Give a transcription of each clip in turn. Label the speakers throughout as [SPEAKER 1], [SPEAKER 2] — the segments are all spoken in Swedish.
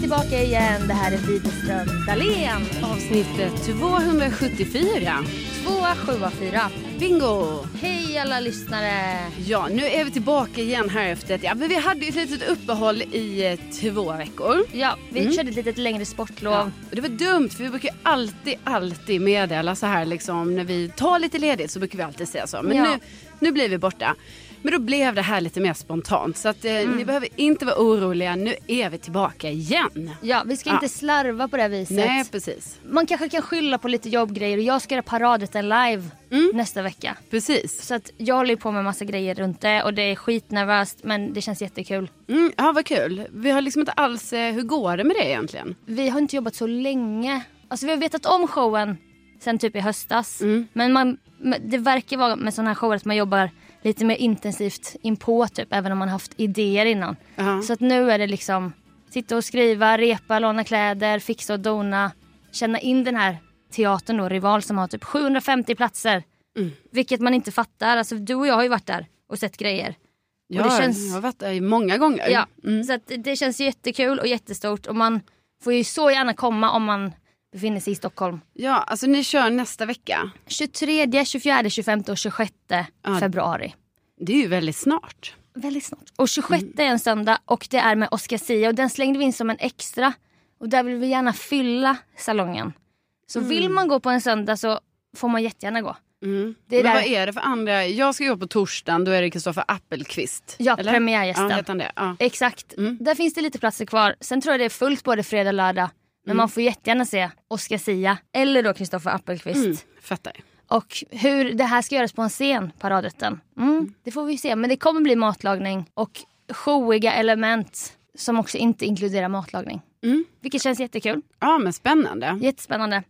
[SPEAKER 1] tillbaka igen. Det här är Widerström Dahlén.
[SPEAKER 2] Avsnittet 274.
[SPEAKER 1] 2774.
[SPEAKER 2] Bingo!
[SPEAKER 1] Hej alla lyssnare.
[SPEAKER 2] Ja, nu är vi tillbaka igen här efter ett... Ja, men vi hade ju ett litet uppehåll i eh, två veckor.
[SPEAKER 1] Ja, vi
[SPEAKER 2] Mm.
[SPEAKER 1] körde ett litet längre sportlov.
[SPEAKER 2] Ja. Och det var dumt för vi brukar ju alltid, alltid meddela så här liksom när vi tar lite ledigt så brukar vi alltid säga så. Men
[SPEAKER 1] Ja.
[SPEAKER 2] nu, nu blir vi borta. Men då blev det här lite mer spontant så att eh, ni behöver inte vara oroliga. Nu är vi tillbaka igen.
[SPEAKER 1] Ja, vi ska
[SPEAKER 2] Ja.
[SPEAKER 1] inte slarva på det här viset.
[SPEAKER 2] Nej, precis.
[SPEAKER 1] Man kanske kan skylla på lite jobbgrejer och jag ska göra Paradrätten live
[SPEAKER 2] Mm.
[SPEAKER 1] nästa vecka.
[SPEAKER 2] Precis.
[SPEAKER 1] Så att jag håller ju på med massa grejer runt det och det är skitnervöst men det känns jättekul.
[SPEAKER 2] Mm, ja, vad kul. Vi har liksom inte alls... Eh, hur går det med det egentligen?
[SPEAKER 1] Vi har inte jobbat så länge. Alltså vi har vetat om showen sen typ i höstas.
[SPEAKER 2] Mm.
[SPEAKER 1] Men man, men det verkar vara med sådana här shower att man jobbar lite mer intensivt inpå typ även om man haft idéer innan.
[SPEAKER 2] Ja.
[SPEAKER 1] Så att nu är det liksom sitta och skriva, repa, låna kläder, fixa och dona. Känna in den här teatern då, Rival som har typ 750 platser.
[SPEAKER 2] Mm.
[SPEAKER 1] Vilket man inte fattar. Alltså du och jag har ju varit där och sett grejer.
[SPEAKER 2] Ja,
[SPEAKER 1] det känns-
[SPEAKER 2] Jag har varit där många gånger.
[SPEAKER 1] Ja,
[SPEAKER 2] Mm.
[SPEAKER 1] så att det- det känns jättekul och jättestort och man får ju så gärna komma om man befinner sig i Stockholm.
[SPEAKER 2] ja, alltså ni kör nästa vecka.
[SPEAKER 1] 23, 24, 25 och 26
[SPEAKER 2] Ja.
[SPEAKER 1] februari.
[SPEAKER 2] Det är ju väldigt snart.
[SPEAKER 1] Väldigt snart. Och 26
[SPEAKER 2] Mm.
[SPEAKER 1] är en söndag och det är med Oscar Sia och den slängde vi in som en extra. Och där vill vi gärna fylla salongen. Så vill man gå på en söndag så får man jättegärna gå.
[SPEAKER 2] Mm.
[SPEAKER 1] Det är
[SPEAKER 2] Men
[SPEAKER 1] där-
[SPEAKER 2] vad är det för andra? Jag ska gå på torsdagen, då är det Kristoffer Appelqvist.
[SPEAKER 1] Ja,
[SPEAKER 2] eller?
[SPEAKER 1] premiärgästen.
[SPEAKER 2] Ja, heter han det? Ja.
[SPEAKER 1] Exakt.
[SPEAKER 2] Mm.
[SPEAKER 1] Där finns det lite platser kvar. Sen tror jag det är fullt både fredag och lördag. Men
[SPEAKER 2] Mm.
[SPEAKER 1] man får jättegärna se Oscar Sia eller då Kristoffer Appelqvist.
[SPEAKER 2] Mm, fattar.
[SPEAKER 1] Och hur det här ska göras på en scen, paradrätten. Mm, det får vi se. Men det kommer bli matlagning och showiga element som också inte inkluderar matlagning.
[SPEAKER 2] Mm.
[SPEAKER 1] Vilket känns jättekul.
[SPEAKER 2] Ja, Mm. men spännande.
[SPEAKER 1] Jättespännande.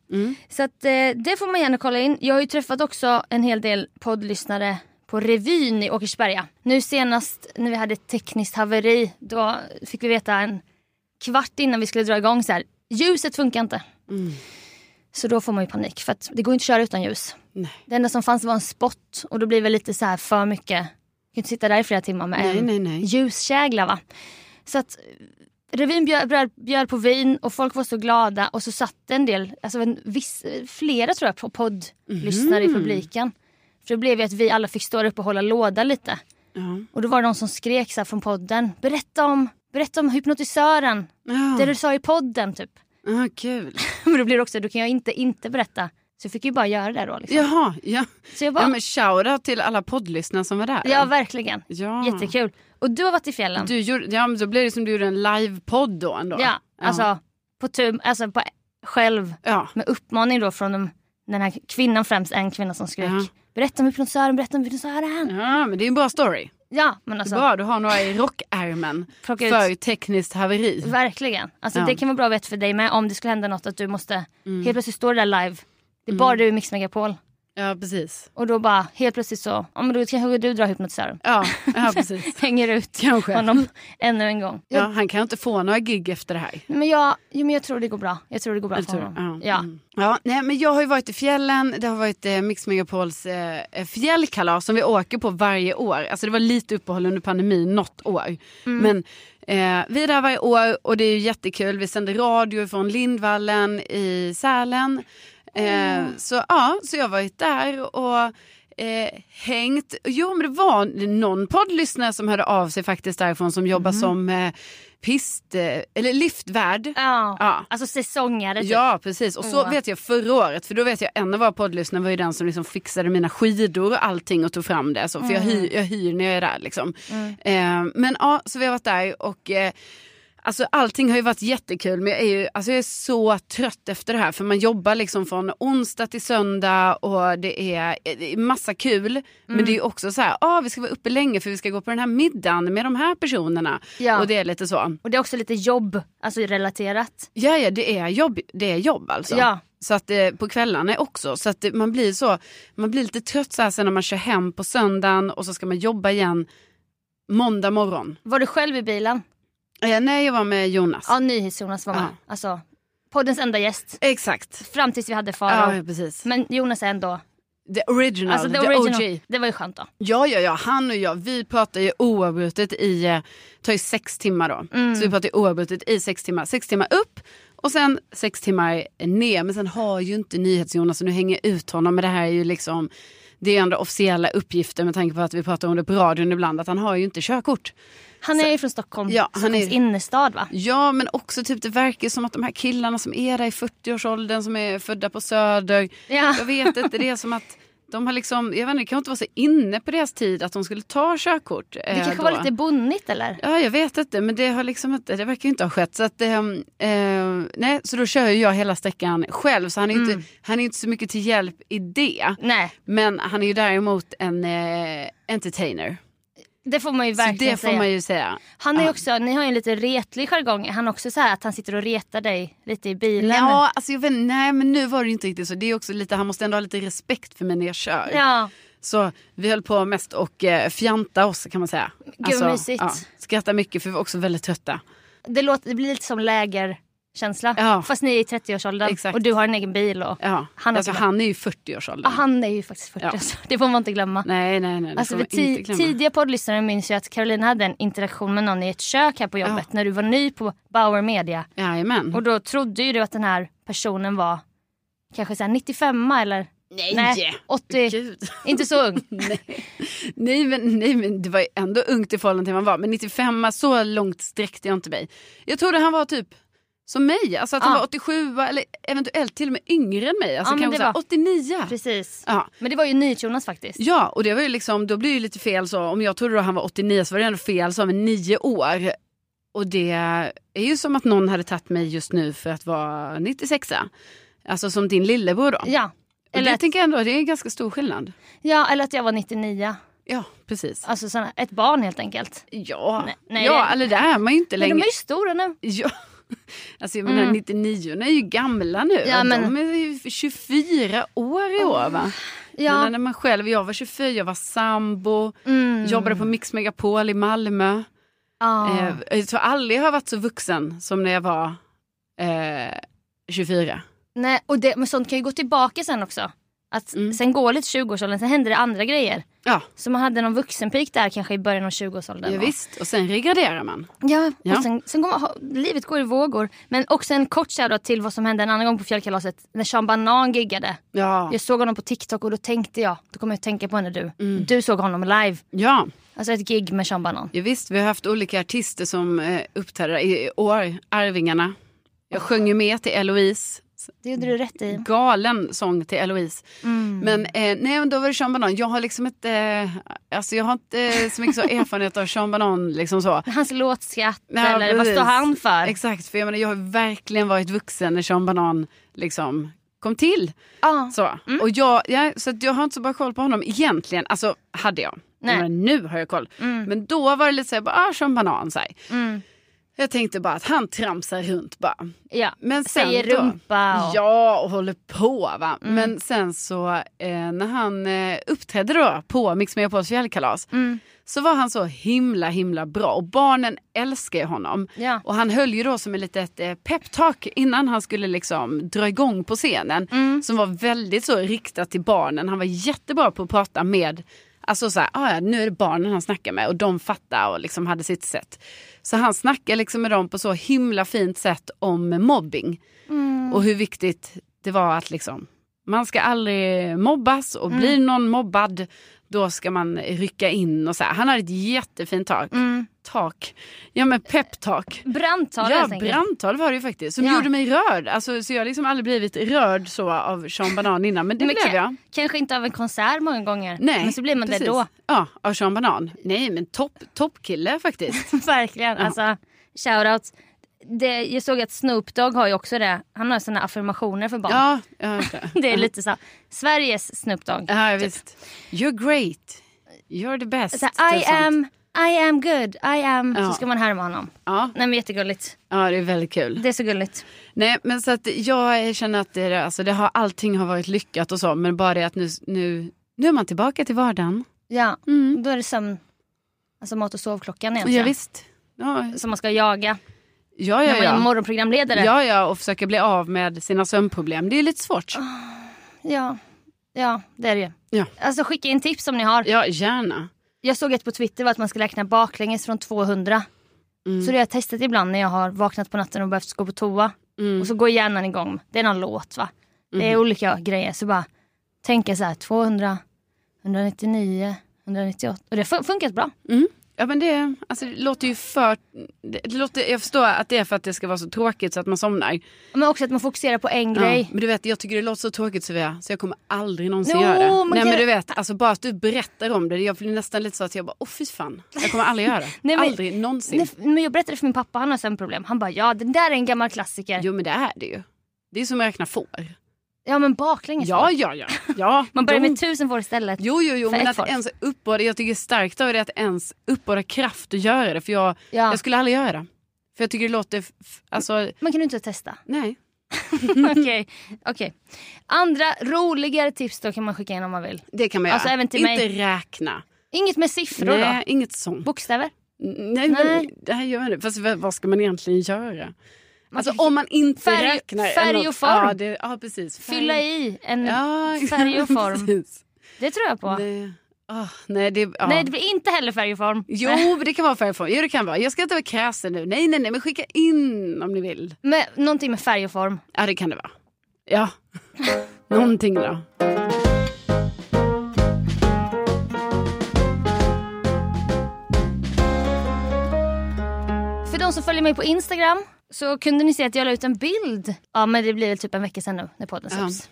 [SPEAKER 1] Så att, eh, det får man gärna kolla in. Jag har ju träffat också en hel del poddlyssnare på revyn i Åkersberga. Nu senast när vi hade ett tekniskt haveri, då fick vi veta en kvart innan vi skulle dra igång så här. Ljuset funkar inte.
[SPEAKER 2] Mm.
[SPEAKER 1] Så då får man ju panik för att det går inte att köra utan ljus.
[SPEAKER 2] Nej.
[SPEAKER 1] Det enda som fanns var en spot och då blir det lite så här för mycket. Du kan inte sitta där i flera timmar med
[SPEAKER 2] Nej,
[SPEAKER 1] en
[SPEAKER 2] nej, nej.
[SPEAKER 1] ljuskägla va. Så att eh, revyn bjöd, bjöd, bjöd på vin och folk var så glada och så satt det en del, alltså en viss, eh, flera tror jag på poddlyssnare
[SPEAKER 2] Mhm.
[SPEAKER 1] i publiken. För det blev ju att vi alla fick stå där uppe och hålla låda lite.
[SPEAKER 2] Ja.
[SPEAKER 1] Och då var det någon som skrek så här från podden, berätta om, berätta om hypnotisören,
[SPEAKER 2] Ja.
[SPEAKER 1] det du sa i podden typ.
[SPEAKER 2] Ja, kul.
[SPEAKER 1] Men då blir det också, då kan jag inte inte berätta. Så jag fick ju bara göra det då liksom.
[SPEAKER 2] Jaha, ja.
[SPEAKER 1] Så jag bara,
[SPEAKER 2] ja men shoutout till alla poddlyssnare som var där.
[SPEAKER 1] Ja, verkligen.
[SPEAKER 2] ja.
[SPEAKER 1] Jättekul. Och du har varit i fjällen?
[SPEAKER 2] Du gjorde, ja, men då blir det som du gjorde en livepodd då ändå.
[SPEAKER 1] ja, alltså på tur, alltså på själv.
[SPEAKER 2] Ja.
[SPEAKER 1] Med uppmaning då från de, den här kvinnan främst, en kvinna som skrek.
[SPEAKER 2] Ja.
[SPEAKER 1] Berätta om hypnotisören, berätta om hypnotisören.
[SPEAKER 2] ja, men det är en bra story.
[SPEAKER 1] Ja, men
[SPEAKER 2] Så.
[SPEAKER 1] alltså
[SPEAKER 2] Bra, du har några i rockärmen
[SPEAKER 1] Plocka ut.
[SPEAKER 2] för tekniskt haveri.
[SPEAKER 1] verkligen. Alltså
[SPEAKER 2] Ja. Mm.
[SPEAKER 1] det kan vara bra att veta för dig med om det skulle hända något att du måste, helt plötsligt står det där live. Det är bara du i Mix Megapol.
[SPEAKER 2] Ja, precis.
[SPEAKER 1] Och då bara helt plötsligt så, ja men då kanske du drar hypnotisören.
[SPEAKER 2] Ja, ja precis.
[SPEAKER 1] Hänger ut
[SPEAKER 2] Kanske.
[SPEAKER 1] honom ännu en gång.
[SPEAKER 2] Ja, han kan inte få några gig efter det här.
[SPEAKER 1] Men jag, jo, men jag tror det går bra. Jag tror det går bra för honom.
[SPEAKER 2] Ja.
[SPEAKER 1] Ja.
[SPEAKER 2] Mm. Ja, nej, men jag har ju varit i fjällen, det har varit eh, Mix Megapols eh, fjällkalas som vi åker på varje år. Alltså det var lite uppehåll under pandemin något år.
[SPEAKER 1] Mm.
[SPEAKER 2] Men eh, vi är där varje år och det är ju jättekul. Vi sänder radio från Lindvallen i Sälen. Eh,
[SPEAKER 1] Mm.
[SPEAKER 2] så, ja, så jag har varit där och eh, hängt. Jo men det var någon poddlyssnare som hörde av sig faktiskt därifrån som jobbar som eh, pist, eh, eller liftvärd.
[SPEAKER 1] Mhm. Ja.
[SPEAKER 2] Ja.
[SPEAKER 1] Alltså säsongare typ.
[SPEAKER 2] Ja precis och så
[SPEAKER 1] Åh.
[SPEAKER 2] vet jag förra året för då vet jag en av våra poddlyssnare var ju den som liksom fixade mina skidor och allting och tog fram det. Så,
[SPEAKER 1] Mm.
[SPEAKER 2] för jag, hyr, jag hyr när jag är där liksom. Eh, men ja så vi har varit där och eh, Alltså allting har ju varit jättekul men jag är ju alltså jag är så trött efter det här för man jobbar liksom från onsdag till söndag och det är, eh, det är massa kul men det är ju
[SPEAKER 1] Mm.
[SPEAKER 2] också så här, ah, vi ska vara uppe länge för vi ska gå på den här middagen med de här personerna
[SPEAKER 1] Ja.
[SPEAKER 2] och det är lite så.
[SPEAKER 1] Och det är också lite jobb, alltså relaterat.
[SPEAKER 2] Ja, ja det, är jobb, det är jobb alltså.
[SPEAKER 1] Ja.
[SPEAKER 2] Så att eh, på kvällarna också. Så att eh, man blir så, man blir lite trött så här sen när man kör hem på söndagen och så ska man jobba igen måndag morgon.
[SPEAKER 1] Var du själv i bilen?
[SPEAKER 2] Eh, nej, jag var med Jonas.
[SPEAKER 1] Ja, NyhetsJonas var med.
[SPEAKER 2] Ja.
[SPEAKER 1] Alltså, poddens enda gäst.
[SPEAKER 2] Exakt.
[SPEAKER 1] Fram tills vi hade Farao.
[SPEAKER 2] Ja, precis.
[SPEAKER 1] Men Jonas är ändå
[SPEAKER 2] The original,
[SPEAKER 1] Alltså the original. Det var ju skönt då.
[SPEAKER 2] Ja, ja, ja. Han och jag, vi pratar ju oavbrutet i, eh, tar ju sex timmar då.
[SPEAKER 1] Mm.
[SPEAKER 2] Så vi pratar ju oavbrutet i sex timmar. Sex timmar upp och sen sex timmar ner. Men sen har ju inte NyhetsJonas, så nu hänger jag ut honom. Men det här är ju liksom, det är ju andra officiella uppgifter med tanke på att vi pratar om det på radion ibland, att han har ju inte körkort.
[SPEAKER 1] Han är ju från Stockholm,
[SPEAKER 2] Ja, han är-
[SPEAKER 1] Stockholms innerstad va?
[SPEAKER 2] Ja, men också typ det verkar som att de här killarna som är där i 40-årsåldern, som är födda på Söder,
[SPEAKER 1] Ja.
[SPEAKER 2] jag vet inte, det är som att de har liksom, jag vet inte, det kan inte vara så inne på deras tid att de skulle ta körkort. eh,
[SPEAKER 1] Det kanske var lite bonnigt eller?
[SPEAKER 2] Ja, jag vet inte, men det, har liksom inte, det verkar ju inte ha skett. Så, att, ehm, eh, nej, så då kör ju jag hela sträckan själv, så han är, ju
[SPEAKER 1] Mm.
[SPEAKER 2] inte, han är inte så mycket till hjälp i det.
[SPEAKER 1] Nej,
[SPEAKER 2] Men han är ju däremot en eh, entertainer.
[SPEAKER 1] det får man ju
[SPEAKER 2] Så
[SPEAKER 1] verkligen
[SPEAKER 2] det får
[SPEAKER 1] säga.
[SPEAKER 2] man ju säga.
[SPEAKER 1] Han är ju också, ni har ju en lite retlig jargong. Är han också så här att han sitter och retar dig lite i bilen?
[SPEAKER 2] Ja, alltså jag vet, nej men nu var det ju inte riktigt så. Det är också lite, han måste ändå ha lite respekt för mig när jag kör.
[SPEAKER 1] Ja.
[SPEAKER 2] Så vi höll på mest och eh, fjanta oss kan man säga. Alltså,
[SPEAKER 1] vad mysigt.
[SPEAKER 2] skratta mycket för vi var också väldigt trötta.
[SPEAKER 1] Det, låter, det blir lite som lägerkänsla.
[SPEAKER 2] Ja.
[SPEAKER 1] Fast ni är i 30-årsåldern
[SPEAKER 2] Exakt.
[SPEAKER 1] och du har en egen bil. Och...
[SPEAKER 2] Ja.
[SPEAKER 1] Han
[SPEAKER 2] Han,
[SPEAKER 1] är
[SPEAKER 2] alltså,
[SPEAKER 1] också-
[SPEAKER 2] han är ju 40-årsåldern.
[SPEAKER 1] Ja, han är ju faktiskt 40
[SPEAKER 2] Ja.
[SPEAKER 1] alltså. Det får man inte glömma.
[SPEAKER 2] Nej, nej, nej. Det
[SPEAKER 1] Alltså,
[SPEAKER 2] får
[SPEAKER 1] för
[SPEAKER 2] man inte
[SPEAKER 1] ti-
[SPEAKER 2] glömma.
[SPEAKER 1] tidiga poddlyssnare minns ju att Caroline hade en interaktion med någon i ett kök här på jobbet
[SPEAKER 2] Ja. Mm.
[SPEAKER 1] när du var ny på Bauer Media.
[SPEAKER 2] Jajamän.
[SPEAKER 1] Och då trodde ju du att den här personen var kanske så här 95 eller
[SPEAKER 2] nej.
[SPEAKER 1] 80,
[SPEAKER 2] Gud.
[SPEAKER 1] inte så ung.
[SPEAKER 2] Nej men, nej men det var ju ändå ungt i förhållande till vad man var. Men 95 så alltså, långt sträckte jag inte mig. Jag trodde han var typ som mig. Alltså att han
[SPEAKER 1] Ja.
[SPEAKER 2] var 87 eller eventuellt till och med yngre än mig. Alltså
[SPEAKER 1] Ja, men
[SPEAKER 2] kanske
[SPEAKER 1] det
[SPEAKER 2] så här
[SPEAKER 1] var-
[SPEAKER 2] 89.
[SPEAKER 1] Precis.
[SPEAKER 2] Ja.
[SPEAKER 1] Men det var ju NyhetsJonas faktiskt.
[SPEAKER 2] Ja, och det var ju liksom, då blir det ju lite fel så. Om jag trodde då han var 89 så var det ändå fel så med nio år. Och det är ju som att någon hade tagit mig just nu för att vara 96 Alltså som din lillebror då.
[SPEAKER 1] Ja.
[SPEAKER 2] och
[SPEAKER 1] Eller
[SPEAKER 2] det
[SPEAKER 1] att,
[SPEAKER 2] tänker jag ändå, det är en ganska stor skillnad.
[SPEAKER 1] ja, eller att jag var 99.
[SPEAKER 2] Ja, precis.
[SPEAKER 1] Alltså såna, ett barn helt enkelt.
[SPEAKER 2] Ja,
[SPEAKER 1] Nej, nej,
[SPEAKER 2] ja alltså,
[SPEAKER 1] det-
[SPEAKER 2] eller det är man ju inte
[SPEAKER 1] Men
[SPEAKER 2] längre.
[SPEAKER 1] de är ju stora nu.
[SPEAKER 2] Ja. Alltså jag menar 99 är ju gamla nu.
[SPEAKER 1] Ja, men-
[SPEAKER 2] De är ju 24 år i år va?
[SPEAKER 1] Ja.
[SPEAKER 2] Men när man själv, jag var 24, jag var sambo,
[SPEAKER 1] Mm.
[SPEAKER 2] jobbade på Mix Megapol i Malmö.
[SPEAKER 1] Ja.
[SPEAKER 2] Eh, jag tror aldrig jag har varit så vuxen som när jag var eh, 24.
[SPEAKER 1] Nej, och det, men sånt kan ju gå tillbaka sen också. Att
[SPEAKER 2] Mm.
[SPEAKER 1] Sen går lite 20-årsåldern, sen händer det andra grejer.
[SPEAKER 2] Ja,
[SPEAKER 1] Så man hade någon vuxenpik där kanske i början av 20-årsåldern.
[SPEAKER 2] ja
[SPEAKER 1] va?
[SPEAKER 2] visst. Och sen regraderar man.
[SPEAKER 1] Ja,
[SPEAKER 2] Ja.
[SPEAKER 1] och sen, sen går man, ha- livet går i vågor. Men också en kort shoutout till vad som hände en annan gång på fjällkalaset. När Sean Banan giggade.
[SPEAKER 2] Ja.
[SPEAKER 1] Jag såg honom på TikTok och då tänkte jag, då kommer jag att tänka på henne du.
[SPEAKER 2] Mm.
[SPEAKER 1] Du såg honom live.
[SPEAKER 2] ja,
[SPEAKER 1] Alltså ett gig med Sean Banan.
[SPEAKER 2] ja visst. Vi har haft olika artister som eh, uppträder i i år. Arvingarna. Jag sjöng ju med till Eloise.
[SPEAKER 1] Det gjorde du rätt
[SPEAKER 2] Mm.
[SPEAKER 1] i.
[SPEAKER 2] Galen sång till Eloise.
[SPEAKER 1] Mm.
[SPEAKER 2] Men eh, nej, men då var det Sean Banan. Jag har liksom inte, eh, alltså jag har inte eh, så mycket så erfarenhet av Sean Banan liksom så.
[SPEAKER 1] Hans låtskatt
[SPEAKER 2] Ja,
[SPEAKER 1] eller vad
[SPEAKER 2] precis.
[SPEAKER 1] står han för?
[SPEAKER 2] Exakt, för jag menar jag har verkligen varit vuxen när Sean Banan liksom kom till.
[SPEAKER 1] ja.
[SPEAKER 2] Så, och jag, ja, så att jag har inte så bra koll på honom egentligen. Alltså hade jag.
[SPEAKER 1] Nej.
[SPEAKER 2] Men nu har jag koll.
[SPEAKER 1] Mm.
[SPEAKER 2] Men då var det lite såhär, bara, ah, som banan. Så här.
[SPEAKER 1] Mm.
[SPEAKER 2] Jag tänkte bara att han tramsar runt bara.
[SPEAKER 1] ja.
[SPEAKER 2] Men sen
[SPEAKER 1] Säger
[SPEAKER 2] då,
[SPEAKER 1] rumpa och...
[SPEAKER 2] Ja, och håller på va. Men sen så eh, när han eh, uppträdde då på Mix Megapols fjällkalas
[SPEAKER 1] Mm.
[SPEAKER 2] så var han så himla himla bra och barnen älskar ju honom.
[SPEAKER 1] Ja.
[SPEAKER 2] Och han höll ju då som ett litet eh, peptalk innan han skulle liksom dra igång på scenen.
[SPEAKER 1] Mm.
[SPEAKER 2] Som var väldigt så riktat till barnen. Han var jättebra på att prata med, alltså så här, ah, ja, nu är det barnen han snackar med och de fattar och liksom hade sitt sätt. Så han snackade liksom med dem på så himla fint sätt om mobbing.
[SPEAKER 1] Mm.
[SPEAKER 2] Och hur viktigt det var att liksom, man ska aldrig mobbas och
[SPEAKER 1] Mm.
[SPEAKER 2] blir någon mobbad då ska man rycka in och så här. Han hade ett jättefint tak.
[SPEAKER 1] Mm.
[SPEAKER 2] tak. Ja men peptalk.
[SPEAKER 1] Brandtal
[SPEAKER 2] Ja,
[SPEAKER 1] helt enkelt.
[SPEAKER 2] brandtal var det ju faktiskt. Som
[SPEAKER 1] Ja.
[SPEAKER 2] gjorde mig rörd. Alltså, så jag har liksom aldrig blivit rörd så av Sean Banan innan. Men det
[SPEAKER 1] Men
[SPEAKER 2] blev
[SPEAKER 1] ka-
[SPEAKER 2] jag.
[SPEAKER 1] Kanske inte av en konsert många gånger.
[SPEAKER 2] Nej,
[SPEAKER 1] men så blir man
[SPEAKER 2] precis.
[SPEAKER 1] det då.
[SPEAKER 2] Ja, av Sean Banan. Nej, men topp toppkille faktiskt.
[SPEAKER 1] Verkligen.
[SPEAKER 2] Ja.
[SPEAKER 1] Alltså, shoutout. Det, jag såg att Snoop Dogg har ju också det. Han har såna affirmationer för barn.
[SPEAKER 2] ja, ja, ja.
[SPEAKER 1] Det är lite så här, Sveriges Snoop Dogg.
[SPEAKER 2] ja, visst. You're great. You're the best.
[SPEAKER 1] Så här, Alltså, I
[SPEAKER 2] och sånt.
[SPEAKER 1] am, I am good, I am. Så
[SPEAKER 2] Ja.
[SPEAKER 1] ska man härma honom.
[SPEAKER 2] Ja,
[SPEAKER 1] Nej men jättegulligt.
[SPEAKER 2] ja, det är väldigt kul.
[SPEAKER 1] Det är så gulligt.
[SPEAKER 2] Nej, men så att jag känner att det, alltså, det har, allting har varit lyckat och så. Men bara det att nu, nu, nu är man tillbaka till vardagen.
[SPEAKER 1] Ja,
[SPEAKER 2] Mm.
[SPEAKER 1] då är det sömn. Alltså mat och sovklockan
[SPEAKER 2] Ja,
[SPEAKER 1] egentligen.
[SPEAKER 2] visst. Ja,
[SPEAKER 1] Som man ska jaga.
[SPEAKER 2] ja,
[SPEAKER 1] När
[SPEAKER 2] ja.
[SPEAKER 1] man är
[SPEAKER 2] ja.
[SPEAKER 1] morgonprogramledare. Ah.
[SPEAKER 2] Ja, ja, och försöka bli av med sina sömnproblem. Det är lite svårt.
[SPEAKER 1] Ja. Ja, det är det ju.
[SPEAKER 2] Ja.
[SPEAKER 1] Alltså skicka in tips om ni har.
[SPEAKER 2] Ja, gärna.
[SPEAKER 1] Jag såg ett på Twitter var att man ska räkna baklänges från 200.
[SPEAKER 2] Mm.
[SPEAKER 1] Så det har jag testat ibland när jag har vaknat på natten och behövt gå på toa.
[SPEAKER 2] Mm.
[SPEAKER 1] Och så går hjärnan igång. Det är någon låt va? Det är olika grejer. Så bara tänka så här 200, 199, 198. Och det har fun- funkat bra.
[SPEAKER 2] Mm. Ja men det, alltså, det låter ju för... Det, det låter, jag förstår att det är för att det ska vara så tråkigt så att man somnar.
[SPEAKER 1] Men också att man fokuserar på en
[SPEAKER 2] Ja, Mm.
[SPEAKER 1] grej.
[SPEAKER 2] Men du vet, jag tycker det låter så tråkigt Sofia, så jag kommer aldrig någonsin
[SPEAKER 1] Jo,
[SPEAKER 2] göra det.
[SPEAKER 1] men
[SPEAKER 2] Nej
[SPEAKER 1] kan-
[SPEAKER 2] men du vet, alltså bara att du berättar om det, jag blir nästan lite så att jag bara, åh fy fan, jag kommer aldrig göra det.
[SPEAKER 1] Nej, men-
[SPEAKER 2] Aldrig någonsin.
[SPEAKER 1] Nej, men jag berättade för min pappa, han har sömnproblem. Han bara ja den där är en gammal klassiker.
[SPEAKER 2] Jo men det är det ju. Det är som att räkna får.
[SPEAKER 1] Ja men baklänges.
[SPEAKER 2] Ja, ja, ja. ja
[SPEAKER 1] Man börjar
[SPEAKER 2] de-
[SPEAKER 1] med tusen får istället.
[SPEAKER 2] Jo, jo, jo,
[SPEAKER 1] För
[SPEAKER 2] men
[SPEAKER 1] ett
[SPEAKER 2] att
[SPEAKER 1] folk.
[SPEAKER 2] ens uppbåda, jag tycker starkt av det att ens uppbåda kraft att göra det. För jag,
[SPEAKER 1] Ja.
[SPEAKER 2] jag skulle aldrig göra det. För jag tycker det låter, f- f- alltså,
[SPEAKER 1] Man kan ju inte testa.
[SPEAKER 2] nej.
[SPEAKER 1] Okej. okej. Andra roligare tips då kan man skicka in om man vill.
[SPEAKER 2] Det kan man göra.
[SPEAKER 1] Alltså, även till mig.
[SPEAKER 2] inte räkna.
[SPEAKER 1] Inget med siffror
[SPEAKER 2] Nej, inget sånt.
[SPEAKER 1] då? Bokstäver? Nej.
[SPEAKER 2] Nej, Men, det här gör det. Fast vad vad ska man egentligen göra?
[SPEAKER 1] Man
[SPEAKER 2] alltså
[SPEAKER 1] kan-
[SPEAKER 2] om man inte
[SPEAKER 1] Färg-
[SPEAKER 2] räknar. är
[SPEAKER 1] färg
[SPEAKER 2] något-
[SPEAKER 1] och form.
[SPEAKER 2] Ja, det, ja precis. Färg-
[SPEAKER 1] Fylla i en...
[SPEAKER 2] ja,
[SPEAKER 1] färg och form.
[SPEAKER 2] precis.
[SPEAKER 1] Det tror jag på.
[SPEAKER 2] Det, ah, nej, det, ja.
[SPEAKER 1] Nej det blir inte heller färg och form.
[SPEAKER 2] Jo, men det kan vara färg och form. Jo, det kan vara. Jag ska inte vara kräsen nu. Nej, nej, nej, men skicka in om ni vill.
[SPEAKER 1] Men, någonting med färg och form.
[SPEAKER 2] Ja, det kan det vara. Ja, någonting då.
[SPEAKER 1] För de som följer mig på Instagram så kunde ni se att jag la ut en bild. Ja men det blir väl typ en vecka sedan nu när podden släpps.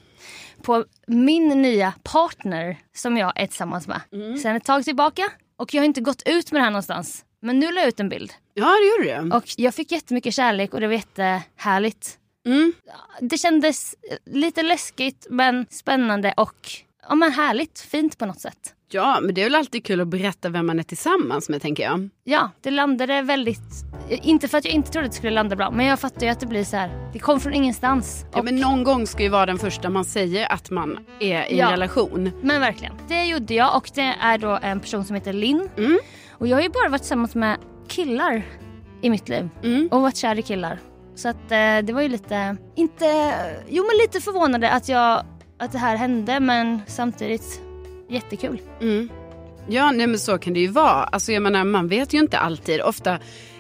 [SPEAKER 1] På min nya partner som jag är tillsammans med.
[SPEAKER 2] Mm.
[SPEAKER 1] Sen ett tag tillbaka. Och jag har inte gått ut med det här någonstans. Men nu la jag ut en bild.
[SPEAKER 2] Ja, det gjorde du.
[SPEAKER 1] Och jag fick jättemycket kärlek och det var jättehärligt.
[SPEAKER 2] Mm.
[SPEAKER 1] Det kändes eh, lite läskigt men spännande och ja, men härligt, fint på något sätt.
[SPEAKER 2] Ja, men det är väl alltid kul att berätta vem man är tillsammans med, tänker jag.
[SPEAKER 1] Ja, det landade väldigt... eh, Inte för att jag inte trodde att det skulle landa bra men jag fattar ju att det blir så här. Det kom från ingenstans.
[SPEAKER 2] Ja,
[SPEAKER 1] Och,
[SPEAKER 2] men någon gång ska ju vara den första man säger att man är i
[SPEAKER 1] Ja.
[SPEAKER 2] en relation.
[SPEAKER 1] men verkligen, det gjorde jag och det är då en person som heter Linn.
[SPEAKER 2] Mm.
[SPEAKER 1] Och jag har ju bara varit tillsammans med killar i mitt liv.
[SPEAKER 2] Mm.
[SPEAKER 1] och varit kär i killar. Så att eh, det var ju lite, inte, jo men lite förvånande att jag, att det här hände men samtidigt jättekul.
[SPEAKER 2] Mm. Ja, nej, men så kan det ju vara. Alltså, jag menar, man vet ju inte alltid. Ofta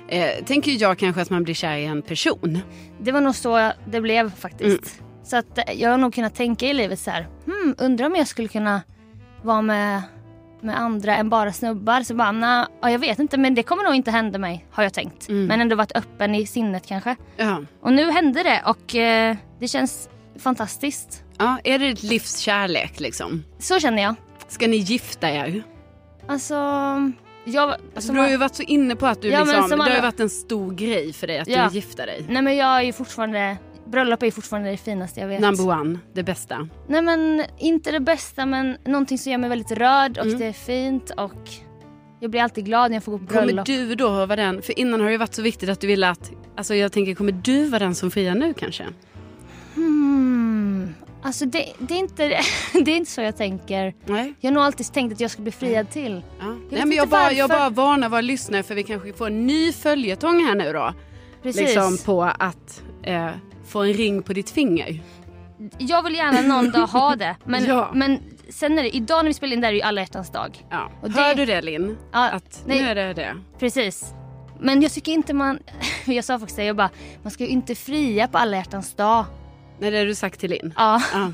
[SPEAKER 2] eh, tänker ju jag kanske att man blir kär i en person.
[SPEAKER 1] Det var nog så det blev faktiskt.
[SPEAKER 2] Mm.
[SPEAKER 1] Så att eh, jag har nog kunnat tänka i livet så här, hmm, undrar om jag skulle kunna vara med, med andra än bara snubbar. Så bara, nah, ja, jag vet inte men det kommer nog inte hända mig har jag tänkt.
[SPEAKER 2] Mm.
[SPEAKER 1] Men ändå varit öppen i sinnet kanske.
[SPEAKER 2] Ja.
[SPEAKER 1] Och nu hände det och eh, det känns fantastiskt.
[SPEAKER 2] ja är det ett livskärlek, liksom?
[SPEAKER 1] Så känner jag.
[SPEAKER 2] Ska ni gifta er?
[SPEAKER 1] Alltså, jag...
[SPEAKER 2] Alltså,
[SPEAKER 1] Alltså,
[SPEAKER 2] du har ju varit så inne på att du
[SPEAKER 1] Ja, men
[SPEAKER 2] liksom,
[SPEAKER 1] som
[SPEAKER 2] det har ju
[SPEAKER 1] alla-
[SPEAKER 2] varit en stor grej för dig att
[SPEAKER 1] Ja.
[SPEAKER 2] du gifta dig.
[SPEAKER 1] Nej men jag är ju fortfarande, bröllop är ju fortfarande det finaste jag vet.
[SPEAKER 2] Number one, det bästa.
[SPEAKER 1] Nej men inte det bästa men någonting som gör mig väldigt röd och
[SPEAKER 2] Mm.
[SPEAKER 1] det är fint och jag blir alltid glad när jag får gå på
[SPEAKER 2] Kommer
[SPEAKER 1] bröllop.
[SPEAKER 2] du då vara den, för innan har det ju varit så viktigt att du ville att, alltså jag tänker kommer du vara den som friar nu kanske?
[SPEAKER 1] Hmm. Alltså det, det, är inte, det är inte så jag tänker.
[SPEAKER 2] Nej.
[SPEAKER 1] Jag har nog alltid tänkt att jag ska bli
[SPEAKER 2] Mm.
[SPEAKER 1] friad till.
[SPEAKER 2] Ja.
[SPEAKER 1] vet
[SPEAKER 2] Nej men
[SPEAKER 1] inte
[SPEAKER 2] jag bara, jag
[SPEAKER 1] varför.
[SPEAKER 2] bara varnar våra lyssnare för vi kanske får en ny följetong här nu då.
[SPEAKER 1] Precis.
[SPEAKER 2] Liksom på att eh, få en ring på ditt finger.
[SPEAKER 1] Jag vill gärna någon dag ha det. Men,
[SPEAKER 2] Ja.
[SPEAKER 1] men sen är det, idag när vi spelar in det här är ju alla hjärtans dag.
[SPEAKER 2] Ja.
[SPEAKER 1] Och det-
[SPEAKER 2] Hör du det Linn?
[SPEAKER 1] Ja,
[SPEAKER 2] Att
[SPEAKER 1] nej.
[SPEAKER 2] nu är det det.
[SPEAKER 1] Precis. Men jag tycker inte man... Jag sa faktiskt det, jag bara, man ska ju inte fria på alla hjärtans dag.
[SPEAKER 2] Nej det har du sagt till Linn.
[SPEAKER 1] Ja,
[SPEAKER 2] Ja.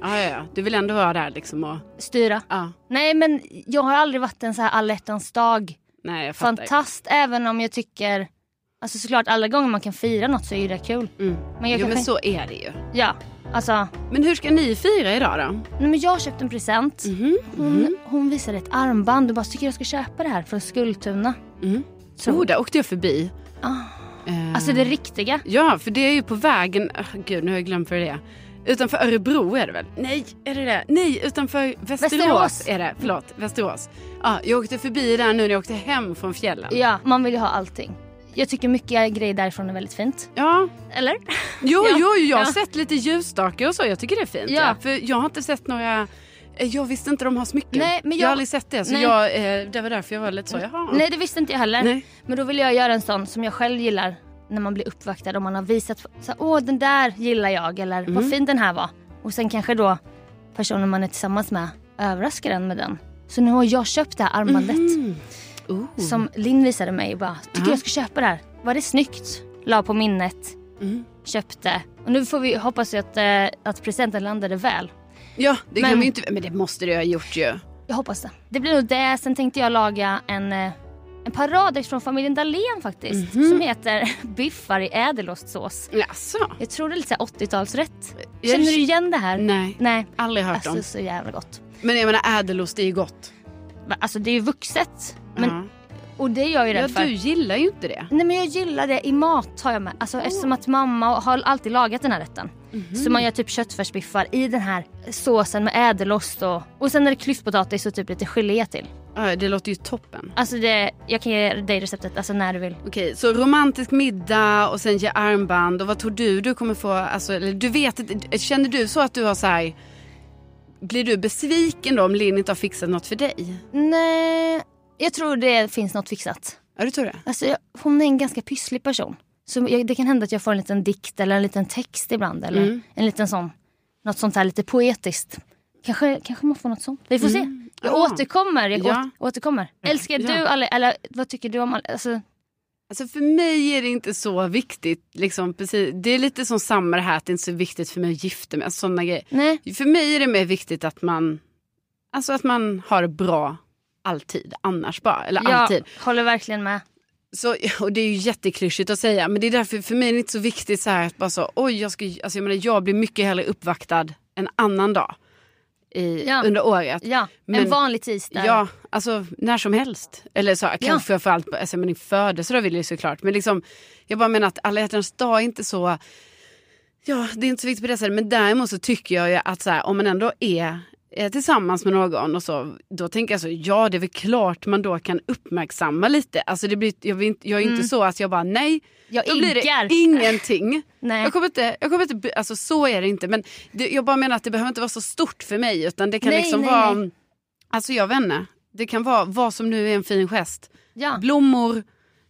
[SPEAKER 2] Ja, ja, ja. Du vill ändå vara där liksom och,
[SPEAKER 1] styra.
[SPEAKER 2] ja.
[SPEAKER 1] Nej men jag har aldrig varit en så här alla hjärtans dag
[SPEAKER 2] Nej jag fattar.
[SPEAKER 1] fantast även om jag tycker, alltså såklart alla gånger man kan fira något så är ju det kul.
[SPEAKER 2] Mm.
[SPEAKER 1] Men jag
[SPEAKER 2] Jo
[SPEAKER 1] kanske,
[SPEAKER 2] men så är det ju.
[SPEAKER 1] ja. Alltså,
[SPEAKER 2] Men hur ska ni fira idag då?
[SPEAKER 1] nej men jag köpte en present.
[SPEAKER 2] Mhm.
[SPEAKER 1] Hon, hon visade ett armband och bara, tycker jag ska köpa det här från Skultuna.
[SPEAKER 2] Mm.
[SPEAKER 1] Så,
[SPEAKER 2] Oh, där åkte jag förbi.
[SPEAKER 1] Ah.
[SPEAKER 2] Eh,
[SPEAKER 1] Alltså det riktiga.
[SPEAKER 2] Ja, för det är ju på vägen... ah, gud, nu har jag glömt för det är. Utanför Örebro är det väl? Nej, är det det? Nej, utanför Västerås,
[SPEAKER 1] Västerås.
[SPEAKER 2] är det. Förlåt, Västerås. Ja, jag åkte förbi där nu när jag åkte hem från fjällen.
[SPEAKER 1] Ja, man vill ju ha allting. Jag tycker mycket grejer därifrån är väldigt fint.
[SPEAKER 2] Ja,
[SPEAKER 1] Eller?
[SPEAKER 2] Mm. jo,
[SPEAKER 1] Ja.
[SPEAKER 2] jo, jag har
[SPEAKER 1] Ja.
[SPEAKER 2] sett lite ljusstakar och så. Jag tycker det är fint.
[SPEAKER 1] Ja.
[SPEAKER 2] För jag har inte sett några... eh, Jag visste inte de har smycken.
[SPEAKER 1] Nej, men
[SPEAKER 2] jag
[SPEAKER 1] jag-
[SPEAKER 2] har aldrig sett det. Så
[SPEAKER 1] Nej. Mm.
[SPEAKER 2] jag, eh, det var därför jag var lite så, jaha.
[SPEAKER 1] Nej Mm. det visste inte jag heller.
[SPEAKER 2] Nej.
[SPEAKER 1] Men då vill jag göra en sån som jag själv gillar när man blir uppvaktad och man har visat så här, åh den där gillar jag eller vad fin den här var. Och sen kanske då personen man är tillsammans med överraskar en med den. Så nu har jag köpt det här
[SPEAKER 2] Mm.
[SPEAKER 1] armbandet
[SPEAKER 2] Oh.
[SPEAKER 1] som Linn visade mig och bara “tycker
[SPEAKER 2] Ja.
[SPEAKER 1] jag ska köpa det här”. Var det snyggt? La på minnet,
[SPEAKER 2] Mm.
[SPEAKER 1] köpte. Och nu får vi hoppas att, eh, att presenten landade väl.
[SPEAKER 2] Ja, det
[SPEAKER 1] Men-
[SPEAKER 2] kan vi inte... Men det måste du ha gjort ju.
[SPEAKER 1] Jag hoppas det. Det blir nog det. Sen tänkte jag laga en, eh, en paradräkt från familjen Dahlén faktiskt. Som heter biffar i ädelostsås.
[SPEAKER 2] Alltså.
[SPEAKER 1] Jag tror det är lite så här 80-talsrätt.
[SPEAKER 2] Jag- Mm.
[SPEAKER 1] Känner du igen det här?
[SPEAKER 2] Nej,
[SPEAKER 1] Nej.
[SPEAKER 2] aldrig hört
[SPEAKER 1] Alltså
[SPEAKER 2] om.
[SPEAKER 1] så jävla gott.
[SPEAKER 2] Men jag menar ädelost, det är ju gott.
[SPEAKER 1] Va, Alltså det är ju vuxet. Men,
[SPEAKER 2] Ja.
[SPEAKER 1] Och det är jag ju
[SPEAKER 2] ja,
[SPEAKER 1] rädd för.
[SPEAKER 2] du gillar ju inte det.
[SPEAKER 1] Nej men jag gillar det i mat har jag med. Alltså eftersom att mamma har alltid lagat den här rätten.
[SPEAKER 2] Mhm.
[SPEAKER 1] Så man gör typ köttfärsbiffar i den här såsen med ädelost och, och sen är det klyftpotatis och typ lite gelé till.
[SPEAKER 2] Ja, det låter ju toppen.
[SPEAKER 1] Alltså det, jag kan ge dig receptet alltså när du vill.
[SPEAKER 2] Okej, så romantisk middag och sen ge armband. Och vad tror du du kommer få? Alltså, eller du vet, inte- känner du så att du har så här... Blir du besviken då om Linn inte har fixat något för dig?
[SPEAKER 1] Nej, jag tror det finns något fixat.
[SPEAKER 2] Ja, du tror det?
[SPEAKER 1] Alltså jag, hon är en ganska pysslig person. Så jag, det kan hända att jag får en liten dikt eller en liten text ibland. Eller
[SPEAKER 2] Mm.
[SPEAKER 1] en liten sån, något sånt här lite poetiskt. Kanske, kanske man får något sånt. Vi får se. Jag
[SPEAKER 2] Mm. Ja.
[SPEAKER 1] återkommer. Jag
[SPEAKER 2] Ja.
[SPEAKER 1] åt, återkommer. Älskar
[SPEAKER 2] Ja.
[SPEAKER 1] du Ale, eller vad tycker du om Ale, alltså,
[SPEAKER 2] Alltså för mig är det inte så viktigt. Liksom, precis. Det är lite som samma det här att det inte är så viktigt för mig att gifta mig. Alltså, sådana grejer.
[SPEAKER 1] Nej,
[SPEAKER 2] För mig är det mer viktigt att man, alltså att man har det bra alltid. Annars bara. Eller
[SPEAKER 1] jag
[SPEAKER 2] alltid.
[SPEAKER 1] håller verkligen med.
[SPEAKER 2] Så, och det är ju jätteklyschigt att säga, men det är därför för mig är det inte så viktigt så här att bara så, oj, jag, ska, alltså jag, menar, jag blir mycket hellre uppvaktad en annan dag i,
[SPEAKER 1] Ja.
[SPEAKER 2] under året.
[SPEAKER 1] Ja, en
[SPEAKER 2] Men-
[SPEAKER 1] vanlig tisdag.
[SPEAKER 2] Ja, alltså när som helst. Eller så, kanske framförallt på alltså, min födelsedag vill jag ju såklart. Men liksom, jag bara menar att alla hjärtans dag är inte så... Ja, det är inte så viktigt på det sättet. Men däremot så tycker jag ju att så här, om man ändå är eh, tillsammans med någon och så, då tänker jag så, ja det är väl klart man då kan uppmärksamma lite. Alltså det blir, jag, vill inte, jag är inte så att jag bara nej,
[SPEAKER 1] Jag
[SPEAKER 2] då blir det
[SPEAKER 1] iggar.
[SPEAKER 2] ingenting.
[SPEAKER 1] Nej.
[SPEAKER 2] Jag kommer inte, jag kommer inte, bry- alltså så är det inte. Men det, jag bara menar att det behöver inte vara så stort för mig utan det kan
[SPEAKER 1] Nej,
[SPEAKER 2] liksom
[SPEAKER 1] nej,
[SPEAKER 2] vara,
[SPEAKER 1] nej.
[SPEAKER 2] alltså jag vet inte. Det kan vara vad som nu är en fin gest.
[SPEAKER 1] Ja.
[SPEAKER 2] Blommor,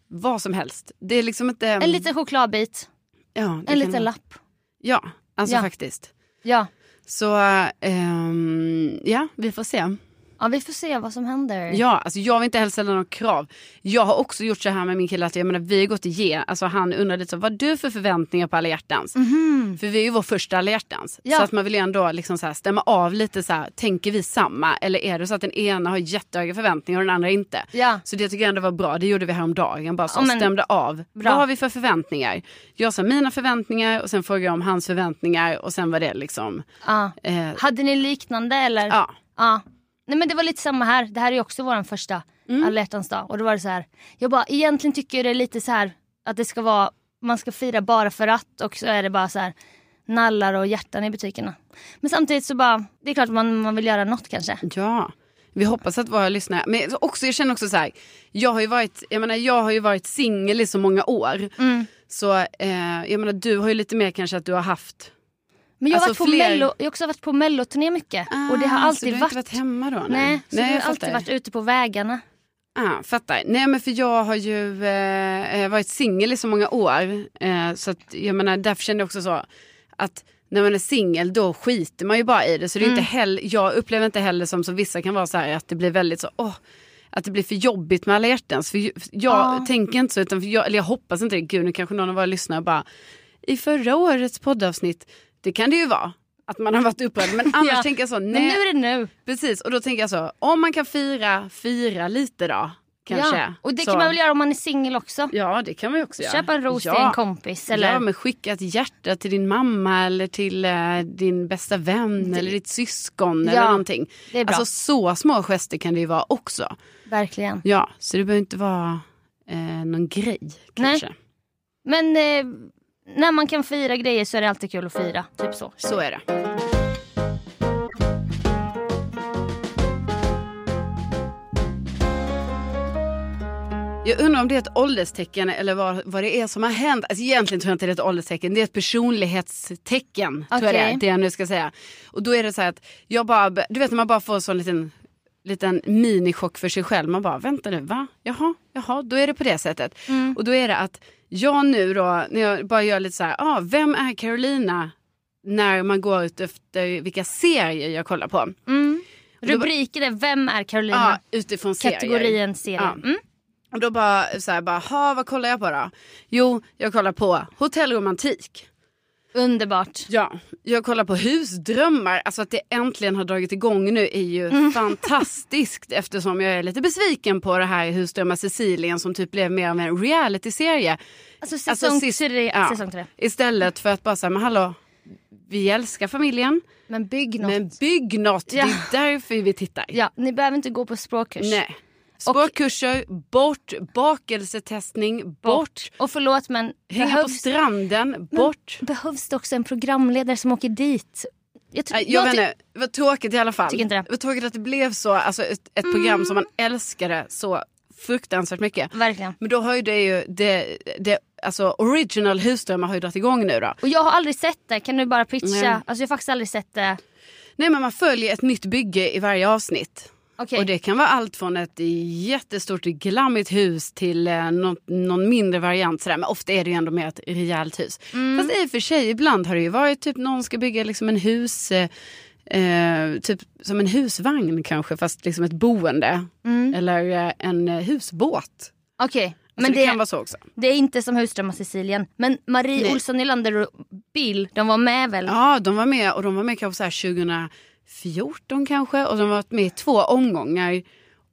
[SPEAKER 2] vad som helst. Det är liksom inte...
[SPEAKER 1] En liten chokladbit,
[SPEAKER 2] ja, det
[SPEAKER 1] en
[SPEAKER 2] kan-
[SPEAKER 1] liten lapp.
[SPEAKER 2] Ja, alltså
[SPEAKER 1] Ja.
[SPEAKER 2] faktiskt.
[SPEAKER 1] Ja.
[SPEAKER 2] Så ehm, ja, vi får se.
[SPEAKER 1] ja, vi får se vad som händer.
[SPEAKER 2] Ja, alltså jag vill inte heller ställa några krav. Jag har också gjort så här med min kille att jag menar, vi har gått igen. Alltså han undrar lite så, vad har du för förväntningar på alla hjärtans?
[SPEAKER 1] Mhm.
[SPEAKER 2] För vi är ju vår första alla hjärtans.
[SPEAKER 1] Ja.
[SPEAKER 2] Så att man vill ju ändå liksom så här stämma av lite så här, tänker vi samma? Eller är det så att den ena har jättehöga förväntningar och den andra inte?
[SPEAKER 1] Ja.
[SPEAKER 2] Så det tycker jag ändå var bra, det gjorde vi häromdagen. Bara så,
[SPEAKER 1] Ja, men-
[SPEAKER 2] stämde av.
[SPEAKER 1] Bra.
[SPEAKER 2] Vad har vi för förväntningar? Jag sa mina förväntningar och sen frågade jag om hans förväntningar och sen var det liksom...
[SPEAKER 1] Ja.
[SPEAKER 2] Eh,
[SPEAKER 1] Hade ni liknande eller?
[SPEAKER 2] ja.
[SPEAKER 1] Ja. Nej men det var lite samma här. Det här är ju också vår första
[SPEAKER 2] Mm.
[SPEAKER 1] alla hjärtans dag. Och då var det så här. Jag bara, egentligen tycker jag det är lite så här att det ska vara, man ska fira bara för att och så är det bara så här nallar och hjärtan i butikerna. Men samtidigt så bara, det är klart man, man vill göra något kanske.
[SPEAKER 2] Ja, vi hoppas att våra lyssnare... Men också, jag känner också så här, jag har ju varit, jag menar, jag har ju varit singel i så många år.
[SPEAKER 1] Mm.
[SPEAKER 2] Så eh, jag menar, du har ju lite mer kanske att du har haft...
[SPEAKER 1] Men jag har,
[SPEAKER 2] Alltså,
[SPEAKER 1] varit, på
[SPEAKER 2] fler-
[SPEAKER 1] mello, jag har också varit på melloturné mycket. och det har
[SPEAKER 2] Ah, så du
[SPEAKER 1] alltid
[SPEAKER 2] har
[SPEAKER 1] varit,
[SPEAKER 2] inte varit hemma då?
[SPEAKER 1] Nej, så det
[SPEAKER 2] jag
[SPEAKER 1] har alltid
[SPEAKER 2] fattar.
[SPEAKER 1] varit ute på vägarna.
[SPEAKER 2] Ah, fattar. Nej men för jag har ju eh, eh, varit singel i så många år. Eh, så att, jag menar, därför kände jag också så att när man är singel då skiter man ju bara i det. Så det är inte heller, jag upplever inte heller som, som vissa kan vara så här att det blir väldigt så, åh, att det blir för jobbigt med alla hjärtans. För ju- för jag
[SPEAKER 1] Ja.
[SPEAKER 2] tänker inte så, utan för jag, eller jag hoppas inte det. Gud nu kanske någon av våra lyssnare bara, i förra årets poddavsnitt, det kan det ju vara. Att man har varit upprörd. Men annars
[SPEAKER 1] Ja.
[SPEAKER 2] tänker jag så, nej.
[SPEAKER 1] Men nu är det nu.
[SPEAKER 2] Precis, och då tänker jag så, om man kan fira, fira lite då. Kanske.
[SPEAKER 1] Ja. Och det
[SPEAKER 2] så.
[SPEAKER 1] kan man väl göra om man är singel också.
[SPEAKER 2] Ja, det kan man ju också göra.
[SPEAKER 1] Köpa en ros till en kompis eller
[SPEAKER 2] Ja, men skicka ett hjärta till din mamma eller till eh, din bästa vän eller ditt syskon eller
[SPEAKER 1] Ja,
[SPEAKER 2] någonting.
[SPEAKER 1] det är bra.
[SPEAKER 2] Alltså så små gester kan det ju vara också.
[SPEAKER 1] verkligen.
[SPEAKER 2] Ja, så det behöver inte vara eh, någon grej kanske.
[SPEAKER 1] Men eh, när man kan fira grejer så är det alltid kul att fira. Typ så.
[SPEAKER 2] Så är det. Jag undrar om det är ett ålderstecken eller vad, vad det är som har hänt. Alltså egentligen tror jag inte det är ett ålderstecken, det är ett personlighetstecken. Tror jag det,
[SPEAKER 1] Okej.
[SPEAKER 2] är, det jag nu ska säga. Och då är det så här att jag bara, du vet när man bara får en sån liten, liten minichock för sig själv. Man bara, vänta nu, va? Jaha, jaha, då är det på det sättet. Och då är det att jag nu då, när jag bara gör lite så här, ah, vem är Carolina när man går ut efter vilka serier jag kollar på.
[SPEAKER 1] Mm. Rubriken är Vem är
[SPEAKER 2] Ja,
[SPEAKER 1] Carolina?
[SPEAKER 2] utifrån serier.
[SPEAKER 1] Kategorien serie.
[SPEAKER 2] Ja.
[SPEAKER 1] Mm.
[SPEAKER 2] Och då bara så här, bara, ha vad kollar jag på då? Jo, jag kollar på hotellromantik.
[SPEAKER 1] Underbart.
[SPEAKER 2] Ja, jag kollar på husdrömmar. Alltså att det äntligen har dragit igång nu är ju fantastiskt eftersom jag är lite besviken på det här husdrömmar Sicilien som typ blev mer av en realityserie.
[SPEAKER 1] Alltså säsong,
[SPEAKER 2] Alltså, sist-
[SPEAKER 1] tre,
[SPEAKER 2] ja.
[SPEAKER 1] säsong tre.
[SPEAKER 2] Istället för att bara säga, men hallå, vi älskar familjen,
[SPEAKER 1] Men bygg något.
[SPEAKER 2] men bygg något.
[SPEAKER 1] Ja.
[SPEAKER 2] Det är därför vi tittar.
[SPEAKER 1] Ja, ni behöver inte gå på språkkurs.
[SPEAKER 2] Nej. Språkkurser, bort, bakelsetestning, bort.
[SPEAKER 1] Och förlåt men
[SPEAKER 2] Hänga på
[SPEAKER 1] behövs,
[SPEAKER 2] stranden, bort.
[SPEAKER 1] behövs det också en programledare som åker dit? Jag, tror-
[SPEAKER 2] Nej, jag
[SPEAKER 1] jag
[SPEAKER 2] vet
[SPEAKER 1] ty-
[SPEAKER 2] inte, det var tråkigt i alla fall.
[SPEAKER 1] Tycker inte det. Mm.
[SPEAKER 2] var tråkigt att det blev så, alltså ett, ett program som man älskade så fruktansvärt mycket.
[SPEAKER 1] Verkligen.
[SPEAKER 2] Men då har ju det ju, det, det, alltså original husdrömmar har ju dragit igång nu då.
[SPEAKER 1] Och jag har aldrig sett det, kan du bara pitcha?
[SPEAKER 2] Nej.
[SPEAKER 1] Alltså jag har faktiskt aldrig sett det.
[SPEAKER 2] Nej men man följer ett nytt bygge i varje avsnitt.
[SPEAKER 1] Okej.
[SPEAKER 2] Och det kan vara allt från ett jättestort glammigt hus till eh, någon, någon mindre variant. Sådär. Men ofta är det ju ändå mer ett rejält hus. Fast i och för sig, ibland har det ju varit typ någon ska bygga liksom en hus... Eh, eh, typ som en husvagn kanske, fast liksom ett boende. Eller eh, en eh, husbåt.
[SPEAKER 1] Okej.
[SPEAKER 2] Men
[SPEAKER 1] Men
[SPEAKER 2] det,
[SPEAKER 1] det,
[SPEAKER 2] Alltså, kan vara så också.
[SPEAKER 1] det är inte som Husdrömmar Sicilien. Men Marie
[SPEAKER 2] Nej.
[SPEAKER 1] Olsson Nylander och Bill, de var med väl?
[SPEAKER 2] Ja, de var med och de var med kanske så här 2014 kanske. Och de har varit med i två omgångar.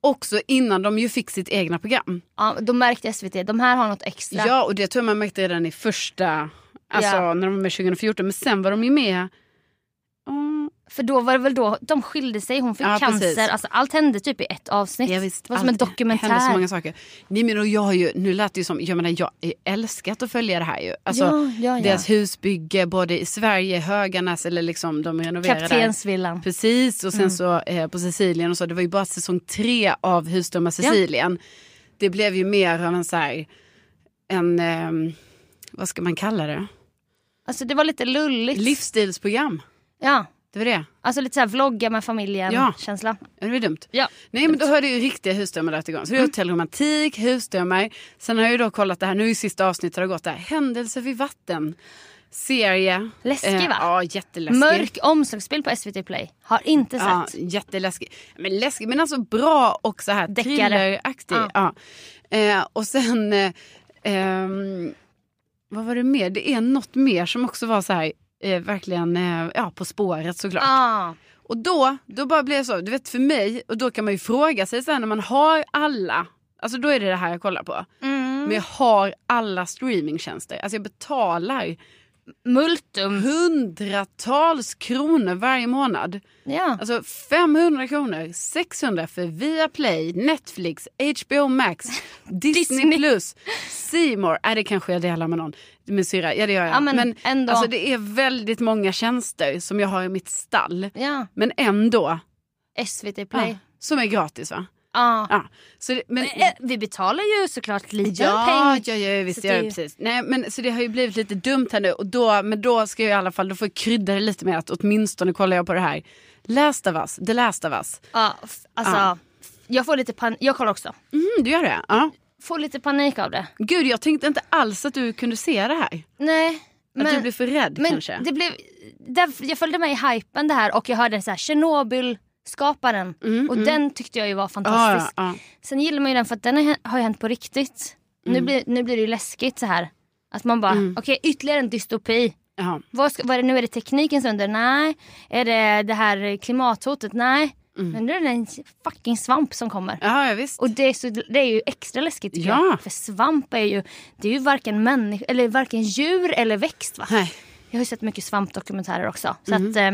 [SPEAKER 2] Också innan de ju fick sitt egna program.
[SPEAKER 1] Ja, då märkte SVT, de här har något extra.
[SPEAKER 2] Ja, och det tror jag man märkte redan i första, alltså
[SPEAKER 1] Ja.
[SPEAKER 2] när de var med 2014. Men sen var de ju med... Mm,
[SPEAKER 1] För då var det väl då de skilde sig, hon fick
[SPEAKER 2] Ja,
[SPEAKER 1] cancer.
[SPEAKER 2] precis.
[SPEAKER 1] Alltså, allt hände typ i ett avsnitt.
[SPEAKER 2] ja, visst,
[SPEAKER 1] det var som en
[SPEAKER 2] allt- hände så
[SPEAKER 1] dokumentär.
[SPEAKER 2] många saker. Nej, men och jag har ju, nu lät det ju som, jag menar jag har älskat att följa det här ju. Alltså,
[SPEAKER 1] ja, ja, ja.
[SPEAKER 2] Deras husbygge både i Sverige, Höganäs eller liksom de renoverade.
[SPEAKER 1] Kaptensvillan.
[SPEAKER 2] Precis, och sen
[SPEAKER 1] Mm.
[SPEAKER 2] så eh, på Sicilien och så. Det var ju bara säsong tre av Husdöma Sicilien. Det blev ju mer av en så här, en, ehm, vad ska man kalla det?
[SPEAKER 1] Alltså det var lite lulligt.
[SPEAKER 2] Livsstilsprogram.
[SPEAKER 1] Ja,
[SPEAKER 2] Det var det.
[SPEAKER 1] alltså lite så här vlogga med
[SPEAKER 2] Ja.
[SPEAKER 1] familjen-känsla.
[SPEAKER 2] Ja, det var dumt.
[SPEAKER 1] Ja.
[SPEAKER 2] Nej men då har det ju riktiga husdömmar där igång. Så det
[SPEAKER 1] Mm.
[SPEAKER 2] är hotellromantik, husdömmar. Sen har jag ju då kollat det här, nu i sista avsnittet har det gått där. Händelser vid vatten. Serie. Eh,
[SPEAKER 1] Läskig, va?
[SPEAKER 2] Ja jätteläskig.
[SPEAKER 1] Mörk omslagsbild på SVT Play. Har inte sett.
[SPEAKER 2] Ja, jätteläskig. Men läskig men alltså bra och så här
[SPEAKER 1] Deckare.
[SPEAKER 2] thrilleraktig. Ja. Eh, och sen, eh, ehm, vad var det mer? Det är något mer som också var så här, eh, verkligen, eh, ja på spåret såklart.
[SPEAKER 1] Ah,
[SPEAKER 2] Och då, då bara blir det så, du vet för mig, och då kan man ju fråga sig sen när man har alla, alltså då är det det här jag kollar på.
[SPEAKER 1] mm.
[SPEAKER 2] Men jag har alla streamingtjänster, alltså jag betalar
[SPEAKER 1] Multum.
[SPEAKER 2] hundratals kronor varje månad.
[SPEAKER 1] Ja.
[SPEAKER 2] Alltså 500 kronor, 600 för Viaplay, Netflix, HBO Max, Disney
[SPEAKER 1] Disney.
[SPEAKER 2] Plus, C More. Äh, det kanske jag delar med någon, min syrra. Ja det gör jag.
[SPEAKER 1] Ja, men ändå.
[SPEAKER 2] Alltså, det är väldigt många tjänster som jag har i mitt stall.
[SPEAKER 1] ja.
[SPEAKER 2] Men ändå.
[SPEAKER 1] SVT Play.
[SPEAKER 2] Ja, som är gratis va?
[SPEAKER 1] Ah.
[SPEAKER 2] Ja. Så det, men,
[SPEAKER 1] Eh, Vi betalar ju såklart lite
[SPEAKER 2] ja,
[SPEAKER 1] peng.
[SPEAKER 2] ja, ja,
[SPEAKER 1] Så
[SPEAKER 2] visst det gör
[SPEAKER 1] det
[SPEAKER 2] det
[SPEAKER 1] är ju-
[SPEAKER 2] precis. Nej, men, så det har ju blivit lite dumt här nu. Och då, men då ska jag i alla fall då får jag krydda det lite med att åtminstone kollar jag på det här. Last of us, The Last of us.
[SPEAKER 1] Ja, f- alltså,
[SPEAKER 2] Ja.
[SPEAKER 1] f- Jag får lite panik. Jag kollar också.
[SPEAKER 2] Mm, du gör det? Ja.
[SPEAKER 1] Får lite panik av det.
[SPEAKER 2] Gud, jag tänkte inte alls att du kunde se det här.
[SPEAKER 1] Nej.
[SPEAKER 2] Att du blev för rädd
[SPEAKER 1] men
[SPEAKER 2] kanske.
[SPEAKER 1] det blev... Där, jag följde med i hypen det här och jag hörde så här Tjernobyl-skaparen. och den tyckte jag ju var
[SPEAKER 2] Mm, Ja,
[SPEAKER 1] fantastisk.
[SPEAKER 2] ja, ja.
[SPEAKER 1] Sen gillar man ju den för att den har- har ju hänt på riktigt. Nu, blir, nu blir det ju läskigt så här. Att man bara, okej ytterligare en dystopi.
[SPEAKER 2] Jaha.
[SPEAKER 1] Vad, ska, vad är det nu? Är det teknikens under? Nej. Är det det här klimathotet? Nej.
[SPEAKER 2] Mm.
[SPEAKER 1] Men nu är det en fucking svamp som kommer.
[SPEAKER 2] Ja, ja, visst.
[SPEAKER 1] Och det är, så, det är ju extra läskigt tycker
[SPEAKER 2] Ja.
[SPEAKER 1] jag. För svamp är ju, det är ju varken, människa, eller varken djur eller växt va?
[SPEAKER 2] Nej.
[SPEAKER 1] Jag har ju sett mycket svampdokumentärer också. Så att, eh,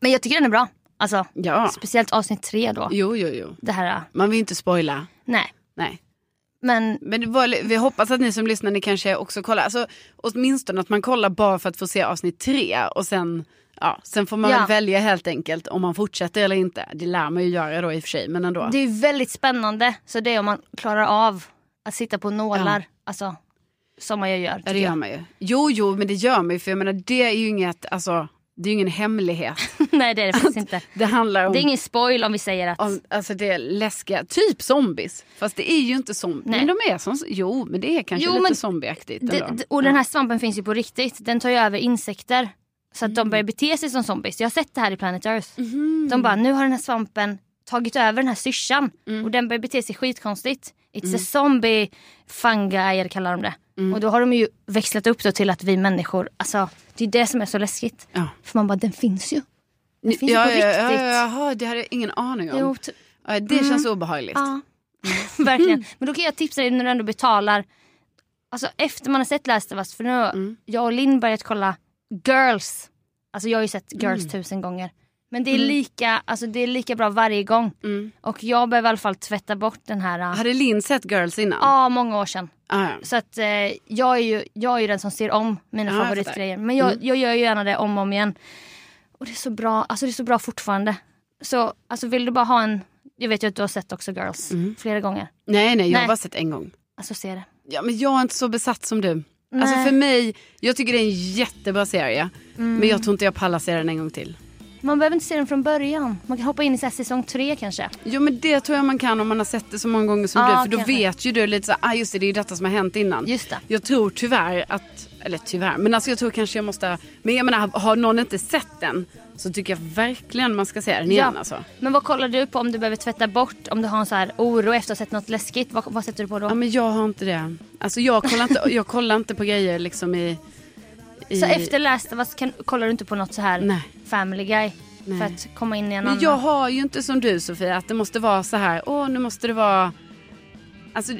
[SPEAKER 1] men jag tycker den är bra. Alltså,
[SPEAKER 2] Mm. Ja.
[SPEAKER 1] Speciellt avsnitt tre då.
[SPEAKER 2] Jo, jo, jo.
[SPEAKER 1] Det här, eh,
[SPEAKER 2] Man vill inte spoila.
[SPEAKER 1] nej.
[SPEAKER 2] Nej.
[SPEAKER 1] Men
[SPEAKER 2] Men det var, vi hoppas att ni som lyssnar ni kanske också kollar. Alltså, åtminstone att man kollar bara för att få se avsnitt tre. Och sen, ja, sen får man
[SPEAKER 1] Ja.
[SPEAKER 2] väl välja helt enkelt om man fortsätter eller inte. Det lär man ju göra då i och för sig. Men ändå.
[SPEAKER 1] Det är ju väldigt spännande. Så det är om man klarar av att sitta på nålar. Alltså, som man ju gör.
[SPEAKER 2] Ja,
[SPEAKER 1] tycker
[SPEAKER 2] det gör
[SPEAKER 1] jag.
[SPEAKER 2] man ju. Jo, jo, men det gör man ju. För jag menar, det är ju inget, alltså, det är ju ingen hemlighet.
[SPEAKER 1] Nej det är det faktiskt inte.
[SPEAKER 2] Det handlar om
[SPEAKER 1] Det är ingen spoil om vi säger att...
[SPEAKER 2] Om, alltså det är läskiga, typ zombies. Fast det är ju inte zombies.
[SPEAKER 1] Nej.
[SPEAKER 2] Men de är som, jo men det är kanske
[SPEAKER 1] Jo,
[SPEAKER 2] lite
[SPEAKER 1] men
[SPEAKER 2] zombieaktigt
[SPEAKER 1] det,
[SPEAKER 2] ändå.
[SPEAKER 1] det- och den här svampen finns ju på riktigt. Den tar ju över insekter. Så att
[SPEAKER 2] Mm.
[SPEAKER 1] de börjar bete sig som zombies. Jag har sett det här i Planet Earth.
[SPEAKER 2] Mhm.
[SPEAKER 1] De bara, nu har den här svampen tagit över den här syrsan
[SPEAKER 2] Mm.
[SPEAKER 1] och den börjar bete sig skitkonstigt. It's a zombie fungi eller kallar de det.
[SPEAKER 2] Mm.
[SPEAKER 1] Och då har de ju växlat upp då till att vi människor, alltså det är det som är så läskigt.
[SPEAKER 2] Ja.
[SPEAKER 1] För man bara, den finns ju. Den finns
[SPEAKER 2] ja,
[SPEAKER 1] ju på
[SPEAKER 2] ja,
[SPEAKER 1] riktigt.
[SPEAKER 2] ja, ja, jaha, det hade jag ingen aning om.
[SPEAKER 1] Jo, t-
[SPEAKER 2] Ja, det känns obehagligt.
[SPEAKER 1] Mm. Ja.
[SPEAKER 2] Mm.
[SPEAKER 1] Verkligen. Men då kan jag tipsa dig när du ändå betalar. Alltså efter man har sett Last of Us, för nu har
[SPEAKER 2] Mm.
[SPEAKER 1] jag och Linn börjat kolla Girls. Alltså jag har ju sett
[SPEAKER 2] Mm.
[SPEAKER 1] Girls tusen gånger. Men det är, lika, alltså det är lika bra varje gång.
[SPEAKER 2] Mm.
[SPEAKER 1] Och jag behöver i alla fall tvätta bort den här, ja
[SPEAKER 2] Hade Linn sett Girls innan?
[SPEAKER 1] ah, många år sedan.
[SPEAKER 2] Ah, ja.
[SPEAKER 1] Så att eh, jag, är ju, jag är ju den som ser om mina
[SPEAKER 2] Ja, jag Mm.
[SPEAKER 1] favoritgrejer. Men jag, jag gör ju gärna det om och om igen. Och det är så bra, alltså det är så bra fortfarande. Så alltså vill du bara ha en, jag vet ju att du har sett också Girls
[SPEAKER 2] Mm.
[SPEAKER 1] flera gånger.
[SPEAKER 2] Nej, nej, jag har
[SPEAKER 1] Nej.
[SPEAKER 2] bara sett en gång.
[SPEAKER 1] Alltså se det.
[SPEAKER 2] Ja, men jag är inte så besatt som du.
[SPEAKER 1] Nej. Mm.
[SPEAKER 2] Alltså för mig, jag tycker det är en jättebra serie. Men jag tror inte jag pallar se den en gång till.
[SPEAKER 1] Man behöver inte se den från början. Man kan hoppa in i så här säsong tre kanske.
[SPEAKER 2] Jo men det tror jag man kan om man har sett det så många gånger som
[SPEAKER 1] Ja,
[SPEAKER 2] du. För då
[SPEAKER 1] kanske.
[SPEAKER 2] vet ju du lite så här, ah, just det, det är ju detta som har hänt innan.
[SPEAKER 1] Just det.
[SPEAKER 2] Jag tror tyvärr att, eller tyvärr, men alltså jag tror kanske jag måste, men jag menar har någon inte sett den så tycker jag verkligen man ska se den igen alltså.
[SPEAKER 1] Men vad kollar du på om du behöver tvätta bort? Om du har en så här oro efter att ha sett något läskigt. Vad, vad sätter du på då?
[SPEAKER 2] Ja men jag har inte det. Alltså jag kollar inte, jag kollar inte på grejer liksom i... i
[SPEAKER 1] så efter Last of Us kan, kollar du inte på något så här
[SPEAKER 2] Nej.
[SPEAKER 1] family guy?
[SPEAKER 2] Nej.
[SPEAKER 1] För att komma in i en
[SPEAKER 2] Men
[SPEAKER 1] annan?
[SPEAKER 2] jag har ju inte som du Sofia, att det måste vara så här, åh nu måste det vara... Alltså,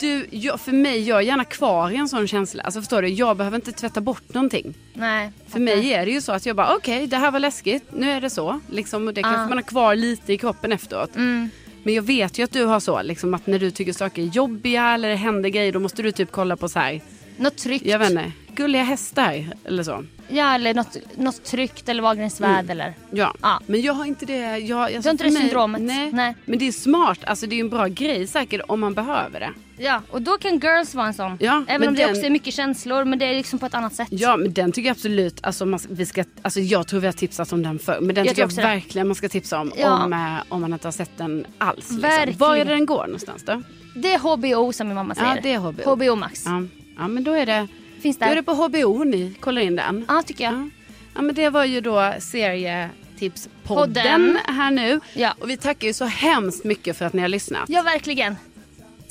[SPEAKER 2] du, jag, för mig, jag är gärna kvar i en sån känsla. Alltså förstår du, jag behöver inte tvätta bort någonting.
[SPEAKER 1] Nej.
[SPEAKER 2] För mig är det ju så att jag bara, okej det här var läskigt, nu är det så. Liksom, och det kanske
[SPEAKER 1] Ah.
[SPEAKER 2] man har kvar lite i kroppen efteråt.
[SPEAKER 1] Mm.
[SPEAKER 2] Men jag vet ju att du har så, liksom, att när du tycker saker är jobbiga eller det händer grejer, då måste du typ kolla på så här,
[SPEAKER 1] Något tryggt.
[SPEAKER 2] jag vet inte, gulliga hästar eller så.
[SPEAKER 1] Ja eller något, något tryggt eller Wahlgrens
[SPEAKER 2] Mm.
[SPEAKER 1] värld eller.
[SPEAKER 2] Ja,
[SPEAKER 1] Ja.
[SPEAKER 2] men jag har inte det. Jag, alltså,
[SPEAKER 1] Du har inte
[SPEAKER 2] för
[SPEAKER 1] det
[SPEAKER 2] mig-
[SPEAKER 1] syndromet?
[SPEAKER 2] Nej.
[SPEAKER 1] Nej.
[SPEAKER 2] men det är smart. Alltså det är ju en bra grej säkert om man behöver det.
[SPEAKER 1] Ja och då kan Girls vara en sån.
[SPEAKER 2] Ja, men
[SPEAKER 1] Även om det
[SPEAKER 2] den-
[SPEAKER 1] också är mycket känslor men det är liksom på ett annat sätt.
[SPEAKER 2] Ja, men den tycker jag absolut, alltså, man, vi ska, alltså jag tror vi har tipsat om den förr. Men den
[SPEAKER 1] Jag
[SPEAKER 2] tycker
[SPEAKER 1] tror
[SPEAKER 2] jag
[SPEAKER 1] också det.
[SPEAKER 2] verkligen man ska tipsa om
[SPEAKER 1] Ja.
[SPEAKER 2] om, eh, om man inte har sett den alls. Liksom.
[SPEAKER 1] Verkligen.
[SPEAKER 2] Var är det den går någonstans då?
[SPEAKER 1] Det är HBO som min mamma säger.
[SPEAKER 2] Ja, det är HBO.
[SPEAKER 1] HBO Max.
[SPEAKER 2] Ja, ja men då är det,
[SPEAKER 1] Finns
[SPEAKER 2] då är
[SPEAKER 1] där.
[SPEAKER 2] det på HBO ni kollar in den.
[SPEAKER 1] Ja tycker jag.
[SPEAKER 2] Ja. Ja, men det var ju då serietipspodden
[SPEAKER 1] Podden.
[SPEAKER 2] här nu.
[SPEAKER 1] Ja.
[SPEAKER 2] Och vi tackar ju så hemskt mycket för att ni har lyssnat.
[SPEAKER 1] Ja, verkligen.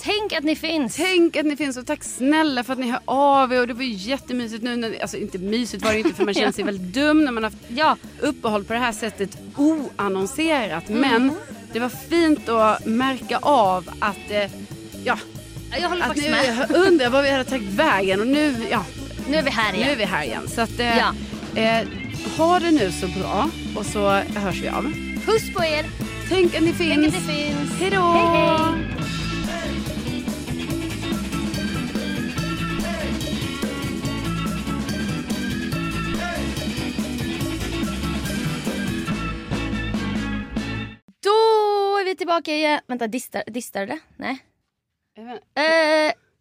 [SPEAKER 1] Tänk att ni finns.
[SPEAKER 2] Tänk att ni finns och tack snälla för att ni hör av er och det var ju jättemysigt nu när, alltså inte mysigt var det ju inte för man känner sig väldigt dum när man haft
[SPEAKER 1] Ja,
[SPEAKER 2] uppehåll på det här sättet oannonserat
[SPEAKER 1] Mm.
[SPEAKER 2] men det var fint att märka av att eh, ja,
[SPEAKER 1] jag håller
[SPEAKER 2] att
[SPEAKER 1] faktiskt
[SPEAKER 2] nu
[SPEAKER 1] med.
[SPEAKER 2] undrar vad vi hade tagit vägen och nu, ja,
[SPEAKER 1] Nu är vi här
[SPEAKER 2] nu är
[SPEAKER 1] igen.
[SPEAKER 2] vi här igen så att eh,
[SPEAKER 1] Ja.
[SPEAKER 2] eh, ha det nu så bra och så hörs vi av.
[SPEAKER 1] Puss på er.
[SPEAKER 2] Tänk att ni finns.
[SPEAKER 1] Tänk att ni finns.
[SPEAKER 2] Hej då!
[SPEAKER 1] Hej, hej. Då är vi tillbaka igen. Vänta, distar, distar det? Nej.
[SPEAKER 2] Eh,
[SPEAKER 1] Eh,